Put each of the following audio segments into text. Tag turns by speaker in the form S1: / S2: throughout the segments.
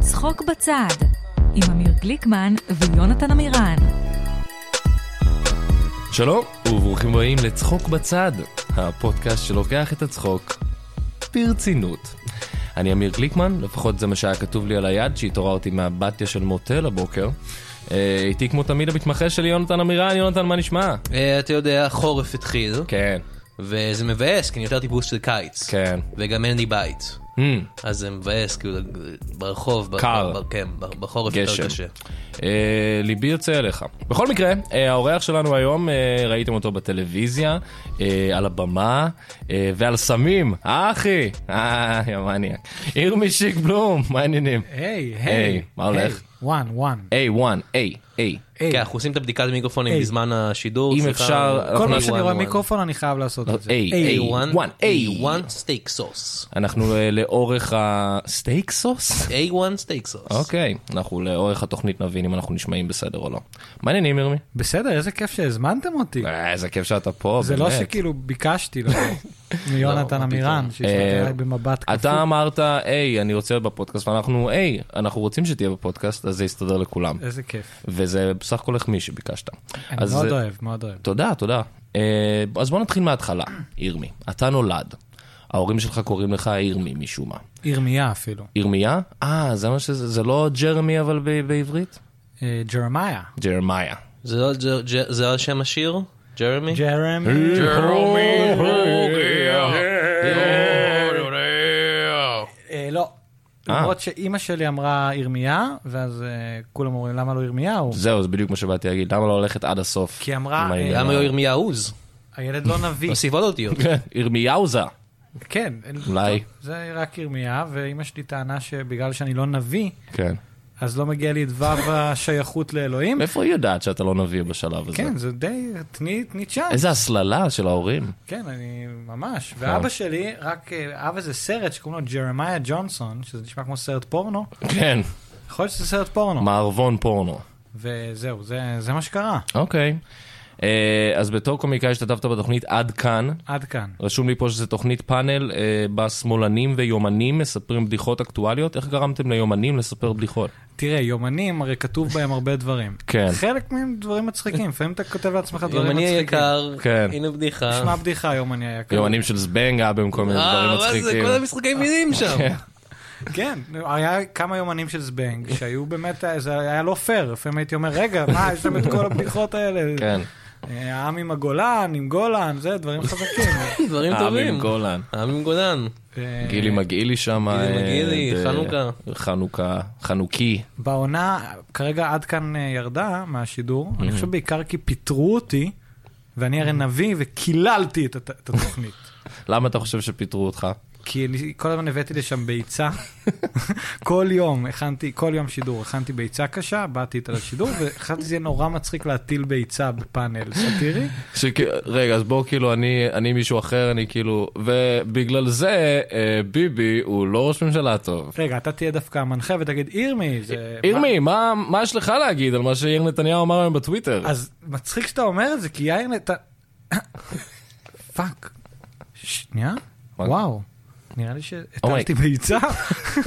S1: צחוק בצד, עם אמיר גליקמן ויונתן עמירן.
S2: שלום, וברוכים הבאים לצחוק בצד, הפודקאסט שלוקח את הצחוק ברצינות. אני אמיר גליקמן, לפחות זה מה שהיה כתוב לי על היד שהתעוררתי מהבתיה של מוטל הבוקר. אה, איתי כמו תמיד המתמחה שלי יונתן עמירן, יונתן מה נשמע?
S3: אה, אתה יודע, חורף התחיל,
S2: כן,
S3: וזה מבאס, כי אני יותר טיפוס של קיץ.
S2: כן.
S3: וגם אין לי בית.
S2: Hmm,
S3: אז זה מבאס, כאילו, ברחוב, ב-
S2: קר.
S3: ב- כן, ב- בחורף יותר
S2: גשם.
S3: קשה.
S2: אה, ליבי יוצא אליך. בכל מקרה, אה, האורח שלנו היום, אה, ראיתם אותו בטלוויזיה, אה, על הבמה אה, ועל סמים. אה אחי, אה, יא מניאק. ירמי שיק בלום, מה העניינים?
S4: היי,
S2: היי,
S4: היי.
S2: מה הולך? אה,
S4: וואן, וואן.
S2: A1, A, A.
S4: היי.
S3: כן, אנחנו עושים את הבדיקת מיקרופונים
S4: היי.
S3: בזמן השידור.
S2: אם
S3: סליחה.
S2: אפשר,
S4: כל
S2: אנחנו
S4: מה שאני רואה
S3: A1.
S4: מיקרופון אני חייב לעשות
S2: לא,
S4: את זה.
S2: A,
S4: היי.
S3: A1,
S2: A1,
S3: A1 סטייק סוס.
S2: אנחנו אה, לאורך הסטייק סוס?
S3: A1 סטייק סוס.
S2: אוקיי, אנחנו לאורך התוכנית נבין אם אנחנו נשמעים בסדר או לא. מעניינים, ירמי?
S4: בסדר, איזה כיף שהזמנתם אותי.
S2: אה, איזה כיף שאתה פה,
S4: זה
S2: באמת. לא,
S4: לא שכאילו ביקשתי לבוא מיונתן
S3: מה
S4: עמירן,
S3: פתאום.
S4: שהסתכל
S2: אה,
S4: עליי במבט
S2: אתה
S4: כפול.
S2: אמרת, היי, אני רוצה להיות בפודקאסט, ואנחנו, היי, אנחנו רוצים שתהיה בפודקאסט, אז זה יסתדר לכולם.
S4: איזה כיף.
S2: וזה בסך הכל החמיא שביקשת.
S4: אה. אני
S2: אז,
S4: מאוד
S2: אה,
S4: אוהב, מאוד אוהב.
S2: תודה, תודה. אה, אז בוא נתחיל מההתחלה, ירמי. אתה נולד, ההורים שלך קוראים לך ירמי משום מה.
S4: ירמיה אפילו.
S2: ירמיה? אה, זה מה שזה, זה לא ג'רמי אבל ב- בעברית?
S4: אה, ג'רמיה.
S2: ג'רמיה.
S3: זה לא ג'ר- ג'ר- זה לא שם השיר? ג'רמי?
S4: ג'רמי. אה, לא.
S2: אה.
S4: למרות שאימא שלי אמרה ירמיה, ואז אה, כולם אומרים למה לא ירמיהו?
S2: זהו, זה בדיוק מה שבאתי להגיד, למה לא ללכת עד הסוף?
S4: כי אמרה,
S2: עם
S4: אה,
S2: העניין?
S3: למה לא ירמיה עוז?
S4: הילד לא נביא.
S3: תוסיף עוד אותיות.
S2: ירמיהוזה.
S4: כן. אין-
S2: אולי.
S4: זה רק ירמיה, ואימא שלי טענה שבגלל שאני לא נביא,
S2: כן.
S4: אז לא מגיע לי את וו השייכות לאלוהים.
S2: מאיפה היא יודעת שאתה לא נביא בשלב הזה?
S4: כן, זה די, תני תני צ'אנס.
S2: איזה הסללה של ההורים.
S4: כן, אני ממש. ואבא שלי, רק, אה, אבא זה סרט שקוראים לו ג'רמיה ג'ונסון, שזה נשמע כמו סרט פורנו.
S2: כן,
S4: יכול להיות שזה סרט פורנו.
S2: מערבון פורנו.
S4: וזהו, זה- זה מה שקרה.
S2: אוקיי. אה, אז בתור קומיקאי השתתפת בתוכנית עד כאן.
S4: עד כאן.
S2: רשום לי פה שזו תוכנית פאנל אה, בה שמאלנים ויומנים מספרים בדיחות אקטואליות. איך גרמתם ליומנים לספר בדיחות?
S4: תראה, יומנים, הרי כתוב בהם הרבה דברים.
S2: כן.
S4: חלק מהם דברים מצחיקים, לפעמים אתה כותב לעצמך דברים
S3: יומני
S4: מצחיקים.
S3: היקר,
S2: כן.
S3: הנה בדיחה.
S4: שמע בדיחה, יומני היקר.
S2: יומנים של זבנג במקום מיני
S3: אה,
S2: דברים
S3: מה זה?
S2: מצחיקים.
S3: כל המשחקי מילים שם.
S4: כן, היה כמה יומנים של זבנג, שהיו באמת, זה היה לא פייר, לפעמים הייתי אומר, רגע, מה, יש שם את כל הבדיחות האלה?
S2: כן.
S4: אה, העם עם הגולן, עם גולן, זה, דברים חזקים.
S3: דברים
S2: העם
S3: טובים.
S2: עם גולן.
S3: העם עם גולן.
S4: אה,
S2: גילי מגעילי שם.
S3: גילי
S2: אה,
S3: מגעילי,
S2: ב-
S3: חנוכה.
S2: חנוכה, חנוכי.
S4: בעונה, כרגע עד כאן אה, ירדה מהשידור, אני חושב בעיקר כי פיטרו אותי, ואני הרי נביא, וקיללתי את הת- את התוכנית.
S2: למה אתה חושב שפיטרו אותך?
S4: כי אני כל הזמן הבאתי לשם ביצה. כל יום הכנתי, כל יום שידור, הכנתי ביצה קשה, באתי איתה לשידור, וחשבתי שזה יהיה נורא מצחיק להטיל ביצה בפאנל סאטירי.
S2: שכי- רגע, אז בואו כאילו, אני, אני מישהו אחר, אני כאילו... ובגלל זה, אה, ביבי הוא לא ראש ממשלה טוב.
S4: רגע, אתה תהיה דווקא המנחה ותגיד, ירמי, זה...
S2: ירמי, מה, מה יש לך להגיד על מה שיאיר נתניהו אמר היום בטוויטר?
S4: מה-" אז מצחיק שאתה אומר את זה, כי יאיר נתן... פאק. שנייה?
S2: מה?
S4: וואו. נראה לי שהטלתי ביצה.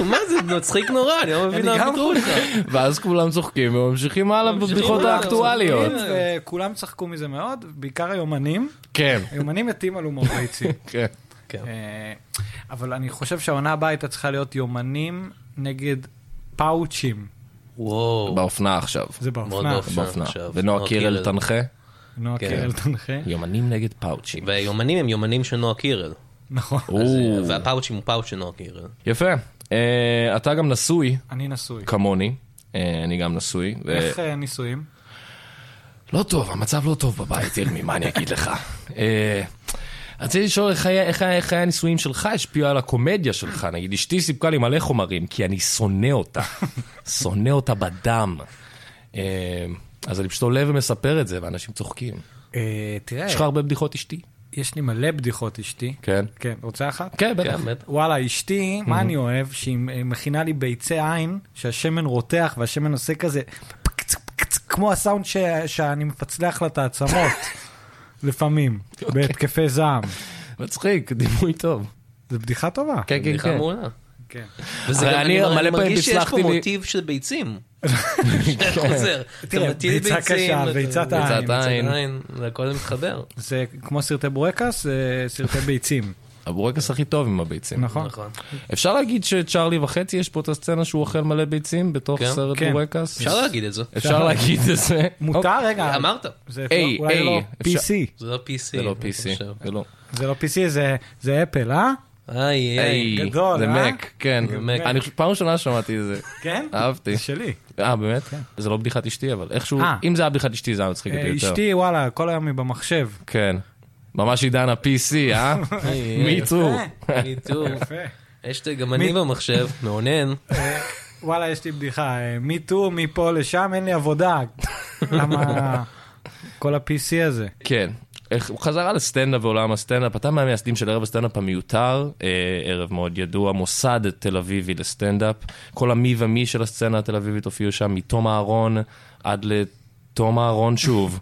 S3: מה זה מצחיק נורא, אני לא מבין
S4: אני
S3: למה
S4: גם-
S3: פיטרו אותך.
S2: ואז כולם צוחקים וממשיכים הלאה
S3: ממשיכים
S2: בבדיחות
S3: הלאה,
S2: האקטואליות.
S3: צוחקים.
S4: וכולם צחקו מזה מאוד, בעיקר היומנים.
S2: כן,
S4: היומנים מתים על הומור ביצים.
S2: כן.
S4: אה, אבל אני חושב שהעונה הבאה הייתה צריכה להיות יומנים נגד פאוצ'ים.
S3: וואו.
S2: באופנה עכשיו.
S4: זה באופנה.
S3: באופנה.
S2: באופנה.
S3: עכשיו.
S2: ונועה
S3: נועה
S2: קירל
S3: קירל.
S2: תנחה?
S4: נועה
S3: כן.
S4: קירל תנחה.
S2: יומנים נגד פאוצ'ים. אה,
S3: והיומנים הם יומנים של נועה קירל.
S4: נכון.
S3: אז,
S2: או, כן,
S3: והפאוצ'ים הוא פאוצ' של נועה קירל.
S2: יפה. אה, אתה גם נשוי,
S4: אני נשוי.
S2: כמוני. אה, אני גם נשוי. ו-
S4: איך אה, נישואים?
S2: לא טוב, המצב לא טוב בבית, ירמי, מה אני אגיד לך? אה, רציתי לשאול איך היה- איך היה- איך היה הנישואים שלך השפיעו על הקומדיה שלך, נגיד אשתי סיפקה לי מלא חומרים, כי אני שונא אותה, שונא אותה בדם. אה, אז אני פשוט עולה ומספר את זה, ואנשים צוחקים.
S4: אה, תראה,
S2: יש לך הרבה בדיחות אשתי?
S4: יש לי מלא בדיחות אשתי.
S2: כן.
S4: כן, רוצה אחת?
S2: כן, בטח.
S3: כן, בטח.
S4: וואלה, אשתי, מה אני אוהב? שהיא אה, מכינה לי ביצי עין, שהשמן רותח והשמן עושה כזה, פקצ, פקצ, כמו הסאונד ש- שאני מפצלח לה את העצמות, לפעמים,
S2: אוקיי.
S4: בהתקפי זעם.
S2: מצחיק, דימוי טוב.
S4: זו בדיחה טובה.
S2: כן, כן,
S3: בדיחה
S2: כן.
S3: מעולה.
S4: כן.
S3: וזה גם,
S2: אני מלא פעמים
S3: מרגיש שיש פה
S2: הצלחתי לי-
S3: מוטיב של ביצים. חוזר.
S4: תראה, ביצה קשה,
S2: ביצת
S4: ביצת העין.
S2: העין.
S3: עין. זה הכל מתחבר.
S4: זה כמו סרטי בורקס, זה סרטי ביצים.
S2: הבורקס הכי טוב עם הביצים.
S4: נכון.
S3: נכון.
S2: אפשר להגיד שצ'ארלי וחצי, יש פה את הסצנה שהוא אוכל מלא ביצים בתוך
S3: כן,
S2: סרט
S4: כן.
S2: בורקס?
S3: אפשר להגיד את זה. נכון.
S2: אפשר להגיד את זה.
S4: מותר,
S2: אוקיי,
S4: רגע.
S3: אמרת.
S4: זה
S2: איי,
S4: לא- אולי
S2: איי,
S4: לא.
S2: אפשר-
S4: PC.
S3: זה לא PC.
S2: זה לא
S3: אני
S2: PC,
S3: חושב.
S2: זה לא.
S4: זה לא PC, זה- זה אפל, אה?
S3: איי, איי.
S2: היי,
S4: גדול,
S2: זה
S4: אה?
S2: מק, כן.
S3: זה מק.
S2: אני חושב- פעם ראשונה שמעתי את זה.
S4: כן?
S2: אהבתי.
S4: זה שלי.
S2: אה, באמת? זה לא בדיחת אשתי, אבל איכשהו,
S4: כן. אה.
S2: אם זה היה בדיחת אשתי, זה היה מצחיק אותי
S4: אה,
S2: יותר.
S4: אשתי, וואלה, כל היום היא במחשב.
S2: כן. ממש עידן ה-PC, אה? מי טו.
S3: אה.
S4: אה,
S3: מיטו.
S4: יפה. אה,
S3: יש לי גם אני במחשב, מעונן.
S4: וואלה, יש לי בדיחה, אה, מטו, מפה לשם, אין לי עבודה. למה כל ה-PC הזה?
S2: כן. איך- הוא חזרה לסטנדאפ ועולם הסטנדאפ, אתה מהמייסדים של ערב הסטנדאפ המיותר, אה, ערב מאוד ידוע, מוסד תל אביבי לסטנדאפ. כל המי ומי של הסצנה התל אביבית הופיעו שם, מתום אהרון עד לתום אהרון שוב.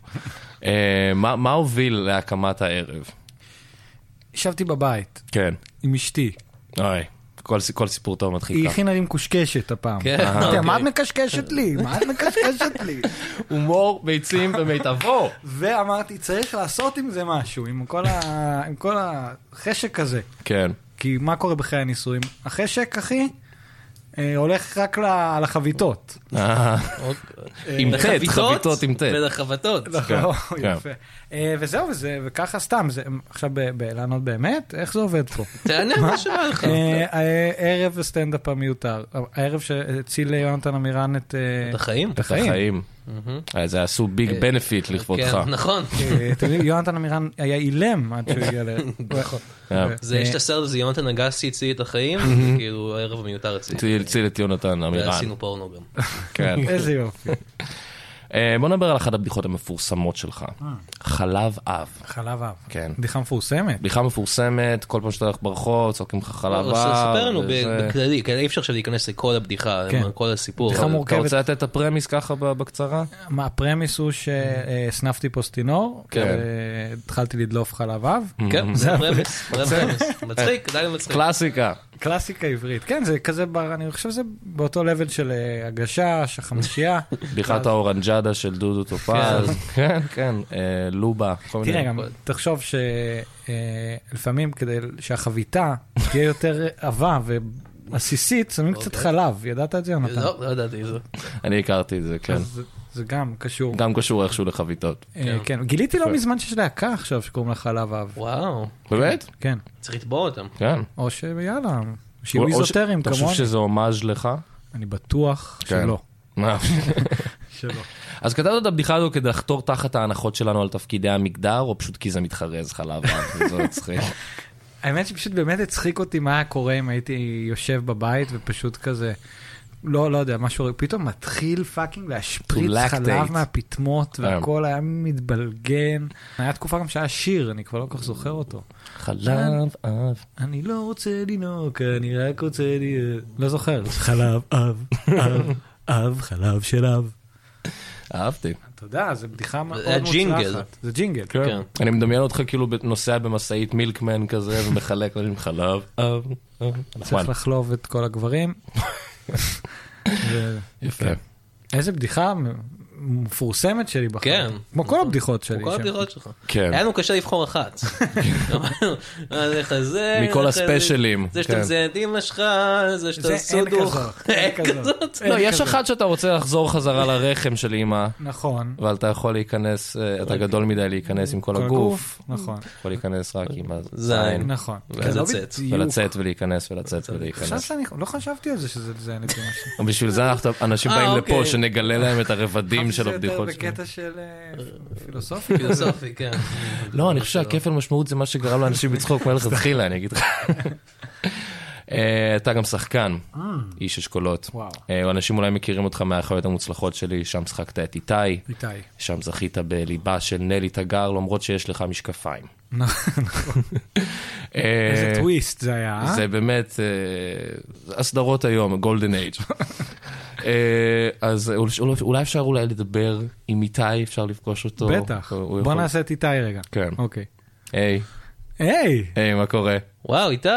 S2: אה, מה מה הוביל להקמת הערב?
S4: ישבתי בבית
S2: כן.
S4: עם אשתי,
S2: אוי, כל ס- כל סיפור טוב
S4: היא
S2: מתחיל ככה.
S4: הכינה לי מקושקשת הפעם.
S3: כן,
S4: אמרתי,
S3: אוקיי.
S4: מה את מקשקשת לי? מה את מקשקשת לי?
S2: הומור, ביצים במיטבו.
S4: ואמרתי, צריך לעשות עם זה משהו, עם כל ה- עם כל החשק הזה.
S2: כן.
S4: כי מה קורה בחיי הנישואים? החשק, אחי, אה, הולך רק ל- על החביתות.
S2: אה,
S3: אוקיי.
S2: עם ט',
S3: לחביתות
S2: חביתות עם ט'.
S3: ולחבטות.
S4: נכון,
S2: כן.
S4: יפה. אה, וזהו, וזה- וככה סתם, זה- עכשיו ב- ב- לענות באמת? איך זה עובד פה?
S3: תענה מה שבא
S2: נכון.
S3: לך.
S4: אה, אה, ערב הסטנדאפ המיותר, הערב שהציל יונתן עמירן את אה,
S3: את החיים.
S4: את
S2: את החיים.
S3: מהמם.
S2: אה, זה עשו ביג בנפיט לכבודך.
S3: כן, נכון.
S4: אה, אתם יודעים, יונתן עמירן היה אילם עד שהוא הגיע ל... נכון.
S2: אה,
S3: זה, יש את הסרט הזה, יונתן אגסי הציל את החיים, כאילו הערב המיותר הציל.
S2: הציל- הציל את יונתן עמירן.
S3: ועשינו פורנו גם.
S2: כן.
S4: איזה יופי.
S2: אה, בוא נדבר על אחת הבדיחות המפורסמות שלך.
S4: אה.
S2: חלב אב.
S4: חלב אב.
S2: כן.
S4: בדיחה מפורסמת.
S2: בדיחה מפורסמת, כל פעם שאתה הולך ברחוב, צועקים לך חלב אב.
S3: אבל לא, ספר לנו ב-
S2: וזה.
S3: בכללי, כי אי אפשר עכשיו להיכנס לכל הבדיחה,
S4: כן.
S3: כל הסיפור.
S4: בדיחה
S3: אבל-
S4: מורכבת.
S2: אתה רוצה לתת את הפרמיס ככה ב- בקצרה?
S3: כן.
S4: מה, הפרמיס הוא אה, שהסנפתי פוסטינור,
S2: כן.
S4: אה, התחלתי לדלוף חלב אב.
S3: כן, זה הפרמיס, זה הפרמיס. מצחיק, עדיין מצחיק.
S2: קלאסיקה.
S4: קלאסיקה עברית. כן, זה כזה, בר- אני חושב שזה באותו לבל של אה, הגשש, החמישייה.
S2: בדיחת האורנג'אדה של דודו טופז. כן, כן, אה, לובה. כל מיני-
S4: תראה, גם תחשוב שלפעמים כדי שהחביתה תהיה יותר עבה ועסיסית, שמים
S2: אוקיי.
S4: קצת חלב. ידעת את זה, יונתן?
S3: לא, לא ידעתי זה.
S2: אני הכרתי את זה, כן.
S4: אז זה- זה גם קשור.
S2: גם קשור איכשהו לחביתות.
S4: אה, כן, גיליתי לא מזמן שיש להקה עכשיו שקוראים לה חלב אב.
S3: וואו,
S2: באמת?
S4: כן.
S3: צריך לתבוע אותם.
S2: כן.
S4: או שיאללה, שיהיו
S2: או- או ש-
S4: איזוטרים
S2: אתה חושב
S4: כמוני.
S2: שזה הומאז' לך?
S4: אני בטוח
S2: כן.
S4: שלא.
S2: מה?
S4: שלא.
S2: אז כתבת את הבדיחה הזו כדי לחתור תחת ההנחות שלנו על תפקידי המגדר, או פשוט כי זה מתחרז חלב אב, זה מצחיק.
S4: האמת שפשוט באמת הצחיק אותי מה היה קורה אם הייתי יושב בבית ופשוט כזה, לא, לא יודע, משהו, פתאום מתחיל פאקינג להשפריץ
S2: To lactate.
S4: חלב מהפטמות
S2: אה.
S4: והכל היה מתבלגן. היה תקופה גם שהיה שיר, אני כבר לא כל כך זוכר אותו.
S2: חלב אב.
S4: אני לא רוצה לנהוג, אני רק רוצה ל... לא זוכר. חלב, אב, אב, אב, חלב של אב.
S2: אהבתי.
S4: אתה יודע, זו בדיחה מאוד
S3: היה ג'ינגל.
S4: מוצלחת. זה ג'ינגל.
S3: כן.
S2: אני מדמיין אותך כאילו נוסע במשאית מילקמן כזה ומחלק לאנשים חלב אב. אב. נכון,
S4: צריך לחלוב את כל הגברים. ו-
S2: יפה.
S4: איזה בדיחה מפורסמת שלי בחיים.
S3: כן.
S4: כמו
S2: נכון.
S4: כל הבדיחות שלי.
S3: כל
S4: שם.
S3: הבדיחות שלך. היה
S2: כן.
S3: לנו קשה לבחור אחת. אמרנו, לך זה,
S2: מכל
S3: לך זה,
S2: הספיישלים,
S3: זה
S2: כן.
S3: שאתה מזיין את אמא שלך, זה
S4: זה
S3: שאתה
S4: אין
S3: סודוך.
S4: כזאת. אין כזאת.
S2: לא,
S4: אין
S2: יש
S4: כזאת.
S2: אחת שאתה רוצה לחזור חזרה לרחם של אימא,
S4: נכון.
S2: אבל אתה יכול להיכנס, אה, אתה גדול מדי להיכנס עם כל
S4: כל
S2: הגוף.
S4: נכון.
S2: יכול להיכנס רק עם
S3: זין.
S2: הזין.
S4: נכון.
S3: ואז
S4: זה לא
S3: לצאת,
S4: בדיוק.
S2: ולצאת ולהיכנס ולצאת
S4: עכשיו
S2: ולהיכנס.
S4: שאני לא חשבתי על זה שזה לזיין את אמא שלי.
S2: בשביל זה אנחנו- אנשים
S3: אה,
S2: באים
S3: אוקיי.
S2: לפה, שנגלה להם את הרבדים של הבדיחות
S4: זה יותר
S2: שלהם.
S4: בקטע של אה, פילוסופי.
S3: פילוסופי, כן.
S2: לא, אני חושב שהכפל משמעות זה מה שגרם לאנשים לצחוק מלכתחילה, אני אגיד לך. אה, אתה גם שחקן, איש אשכולות.
S4: וואו.
S2: אה, אנשים אולי מכירים אותך מהאחיות המוצלחות שלי, שם שחקת את איתי,
S4: איתי.
S2: שם זכית בליבה של נלי תגר, למרות שיש לך משקפיים.
S4: נכון.
S2: אה,
S4: איזה טוויסט זה היה, אה?
S2: זה באמת, אה, הסדרות היום, גולדן אייג'. אז אולי- אולי אפשר אולי לדבר עם איתי, אפשר לפגוש אותו.
S4: בטח.
S2: לא- הוא
S4: בוא
S2: יכול-
S4: נעשה את איתי רגע.
S2: כן.
S4: אוקיי.
S2: היי,
S4: היי!
S2: היי, מה קורה?
S3: וואו, איתי,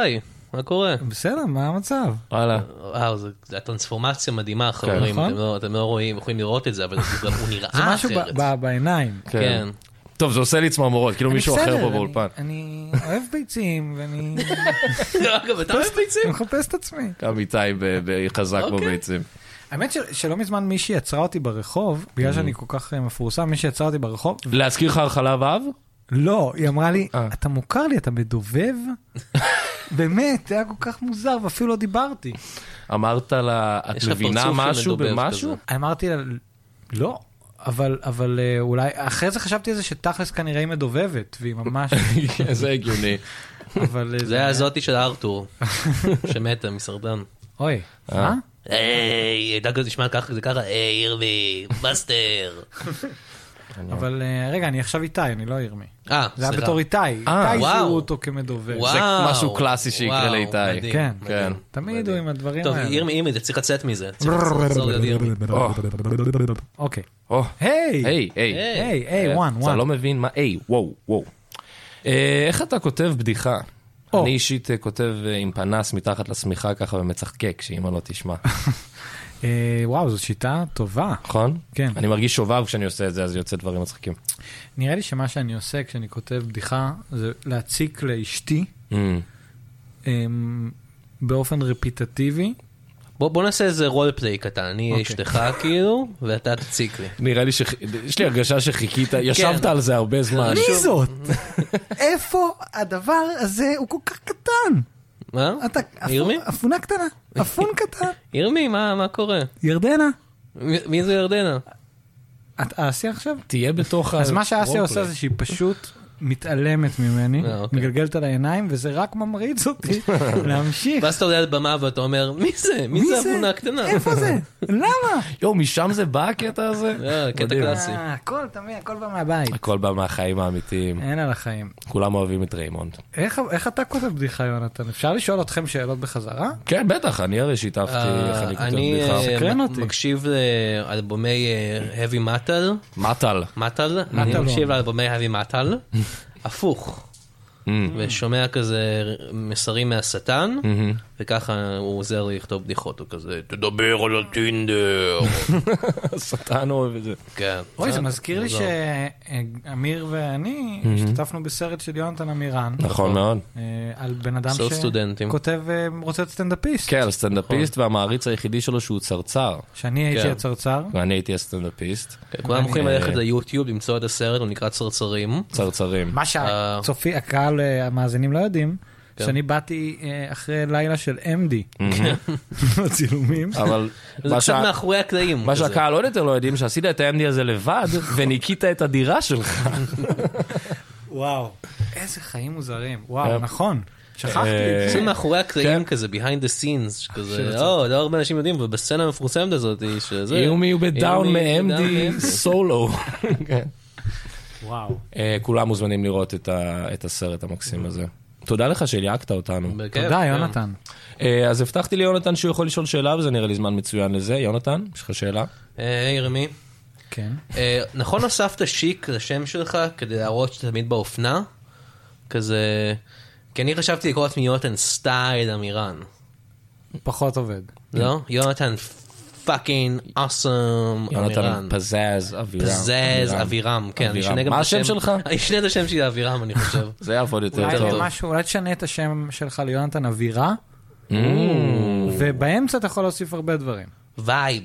S3: מה קורה?
S4: בסדר, מה המצב?
S2: וואלה.
S3: וואו, זו הטרנספורמציה מדהימה,
S2: כן.
S3: חברים.
S4: נכון.
S3: אתם לא- אתם לא רואים, יכולים לראות את זה, אבל זה גם- הוא
S4: זה
S2: אה,
S3: נראה
S4: משהו ב-
S3: אחרת.
S4: ב- בעיניים.
S3: כן.
S2: טוב, זה עושה לי צמרמורות, כאילו
S4: אני
S2: מישהו אחר
S4: בסדר,
S2: פה
S4: אני-
S2: באולפן.
S4: אני אוהב ביצים, ואני כן.
S3: אגב, אתה אוהב ביצים?
S4: אני מחפש את עצמי.
S2: גם איתי ב- ב- חזק
S3: אוקיי.
S2: בביצים.
S4: האמת של- שלא מזמן מישהי עצרה אותי ברחוב, בגלל
S3: Mm.
S4: שאני כל כך אה, מפורסם, מישהי עצרה אותי ברחוב,
S2: להזכיר לך על חלב אב?
S4: לא, היא אמרה לי,
S2: אה.
S4: אתה מוכר לי, אתה מדובב? באמת, זה היה כל כך מוזר, ואפילו לא דיברתי.
S2: אמרת לה, את
S3: יש לך
S2: מבינה
S3: פרצוף של
S2: משהו
S3: מדובב
S2: במשהו?
S3: כזה.
S4: אמרתי לה, לא, אבל, אבל אה, אולי, אחרי זה חשבתי על זה שתכלס כנראה היא מדובבת, והיא ממש,
S2: כן, זה הגיוני.
S4: אבל... אה,
S3: זה היה זאתי של ארתור, שמתה מסרטן.
S4: אוי,
S3: אה,
S4: מה?
S3: היי, היא הייתה כזה, תשמע ככה, זה ככה, היי, ירמי, מאסטר.
S4: אבל אה, רגע, אני עכשיו איתי, אני לא ירמי.
S3: אה,
S4: זה
S3: סליחה.
S4: היה בתור איתי,
S2: אה,
S4: איתי
S3: וואו.
S4: זיהו אותו כמדובב.
S3: וואו,
S2: זה משהו קלאסי שיקרה
S3: וואו,
S2: לאיתי.
S3: מדהים,
S4: כן.
S2: כן.
S3: מדהים.
S4: תמיד הוא עם הדברים
S3: טוב,
S4: האלה.
S3: ירמי, ירמי, אתה צריך לצאת מזה. צריך לחזור להיות ירמי.
S4: אוקיי.
S2: או,
S4: היי!
S2: היי, היי.
S3: היי. אה,
S4: היי, היי, וואן,
S2: אתה
S4: וואן.
S2: לא מבין מה, היי, וואו, וואו. אה, איך אתה כותב בדיחה?
S4: או.
S2: אני אישית אה, כותב אה, עם פנס מתחת לשמיכה ככה ומצחקק, שאמא לא תשמע,
S4: אה, וואו, זו שיטה טובה.
S2: נכון?
S4: כן.
S2: אני מרגיש שובב כשאני עושה את זה, אז יוצא דברים מצחיקים.
S4: נראה לי שמה שאני עושה כשאני כותב בדיחה, זה להציק לאשתי
S2: אמ,
S4: אמ, באופן רפיטטיבי.
S3: בוא בוא נעשה איזה רול פליי קטן, אני
S4: אוקיי.
S3: אשתך כאילו, ואתה תציק לי.
S2: נראה לי ש... יש לי הרגשה שחיכית,
S4: כן.
S2: ישבת על זה הרבה זמן.
S4: מי זאת? איפה הדבר הזה הוא כל כך קטן?
S3: מה?
S4: אתה אפו-
S3: ירמי?
S4: אפונה קטנה, אפון קטן.
S3: ירמי, מה מה קורה?
S4: ירדנה,
S3: מי מי זה ירדנה?
S4: את אסיה עכשיו?
S2: תהיה בתוך ה...
S4: אז
S3: אה,
S4: מה שאסיה
S2: רולפליי.
S4: עושה זה שהיא פשוט מתעלמת ממני,
S3: אה, אוקיי.
S4: מגלגלת על העיניים, וזה רק ממריץ אותי להמשיך.
S3: ואז אתה עולה על במה ואתה אומר, מי זה? מי זה הבונה הקטנה?
S4: איפה זה? למה?
S2: יואו, משם זה בא הקטע הזה?
S3: אה, קטע
S2: מדהים.
S3: קלאסי.
S4: אה, הכל, אתה מבין, הכל בא מהבית.
S2: הכל בא מהחיים האמיתיים,
S4: אין על החיים.
S2: כולם אוהבים את ריימונד.
S4: איך, איך אתה כותב בדיחה, יונתן? אפשר לשאול אתכם שאלות בחזרה?
S2: כן, בטח, אני הרי שיתפתי איך אני כותב
S3: אה, אני
S2: בדיחה.
S3: אה,
S4: סקרן
S3: מ-
S4: אותי.
S3: מקשיב לאלבומי אה, heavy metal,
S2: מטל.
S3: מטאל, אני
S4: מטאלון.
S3: מקשיב לאלבומי heavy metal, הפוך, Mm-hmm. ושומע כזה מסרים מהשטן,
S2: Mm-hmm.
S3: וככה הוא עוזר לי לכתוב בדיחות, הוא כזה, תדבר על הטינדר,
S2: השטן אוהב את זה.
S3: כן.
S4: אוי, זה מזכיר לי שאמיר ואני השתתפנו בסרט של יונתן עמירן,
S2: נכון מאוד.
S4: אה, על בן אדם
S3: סוד סטודנטים.
S4: שכותב, אה, רוצה להיות סטנדאפיסט.
S3: נכון.
S2: כן, הסטנדאפיסט והמעריץ היחידי שלו שהוא צרצר.
S4: שאני הייתי
S3: כן.
S4: הצרצר.
S2: ואני הייתי הסטנדאפיסט.
S3: כן, כולם יכולים ללכת ליוטיוב, למצוא את הסרט, הוא נקרא צרצרים.
S2: צרצרים.
S4: מה
S3: אה. כן.
S4: שהצופי, הקהל, אה, המאזינים לא יודעים, שאני באתי אה, אחרי לילה של MD, בצילומים.
S3: אה.
S2: אבל
S3: זה
S2: מה
S3: קצת
S2: שה-
S3: מאחורי הקלעים.
S2: מה
S3: כזה.
S2: שהקהל עוד יותר לא יודעים, שעשית את ה-MD הזה לבד, וניקית את הדירה שלך.
S4: וואו, איזה חיים מוזרים.
S2: אה.
S4: וואו,
S3: כן.
S4: נכון, שכחתי
S3: זה
S4: את זה.
S3: מאחורי הקלעים
S2: כן.
S3: כזה, behind the scenes, שכזה,
S4: של
S3: או, לא הרבה אנשים יודעים, ובסצנה המפורסמת הזאת, שזה...
S2: יומי הוא בדאון
S3: יומי הוא בדאון כן.
S2: מ-MD
S3: מ-MD.
S2: סולו.
S4: וואו.
S2: אה, כולם מוזמנים לראות את ה- את הסרט המקסים הזה. תודה לך שליהקת אותנו.
S3: בכיף,
S4: תודה,
S3: כן.
S4: יונתן.
S2: אה, אז הבטחתי ליונתן שהוא יכול לשאול שאלה, וזה נראה לי זמן מצוין לזה. יונתן, יש לך שאלה?
S3: אה, היי, ירמי.
S4: כן.
S3: אה, נכון הוספת שיק לשם שלך כדי להראות שאתה תמיד באופנה? כזה... כי אני חשבתי לקרוא לעצמי יונתן סטייל אמירן.
S4: פחות עובד.
S3: לא? יונתן פאקינג אוסם
S2: יונתן
S3: אמירן.
S2: פזז, אבירם.
S3: פזז
S2: אבירם.
S3: אבירם, כן, אני
S2: אבירם.
S3: אשנה גם
S2: מה
S3: את
S2: השם שלך?
S3: אני אשנה את השם שלי לאבירם, אני חושב.
S2: זה יהיה עוד יותר
S4: אולי
S2: טוב.
S4: משהו, אולי תשנה את השם שלך ליונתן אווירה,
S2: Mm.
S4: ובאמצע אתה יכול להוסיף הרבה דברים.
S3: וייב.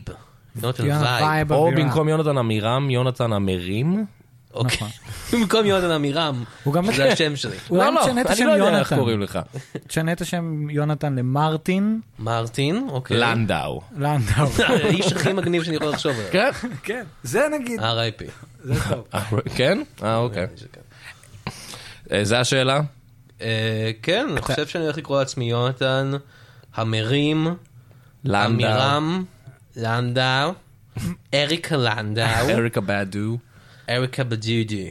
S3: יונתן
S4: יונתן
S3: וייב.
S4: וייב
S2: או
S4: אווירה.
S2: במקום יונתן עמירם, יונתן עמירים.
S3: אוקיי.
S4: נכון.
S3: במקום יונתן עמירם,
S4: הוא
S2: אוקיי.
S4: גם-
S3: שזה השם שלי.
S4: אולי
S2: לא, לא,
S4: תשנה את
S2: אני
S4: השם
S2: לא יודע איך
S4: יונתן.
S2: קוראים לך.
S4: תשנה את השם יונתן למרטין
S3: מרטין, אוקיי.
S2: לנדאו.
S4: לנדאו.
S3: האיש הכי מגניב שאני יכול לחשוב עליו.
S2: כן?
S4: כן, זה נגיד,
S3: R.I.P.
S4: זה טוב.
S2: כן? אה, אוקיי. אה, זה השאלה?
S3: אה, כן, אני חושב שאני הולך לקרוא לעצמי יונתן, המרים,
S2: לנדאו.
S3: אמירם, לנדאו, אריקה לנדאו,
S2: אריקה בדו.
S3: אריקה בדודי.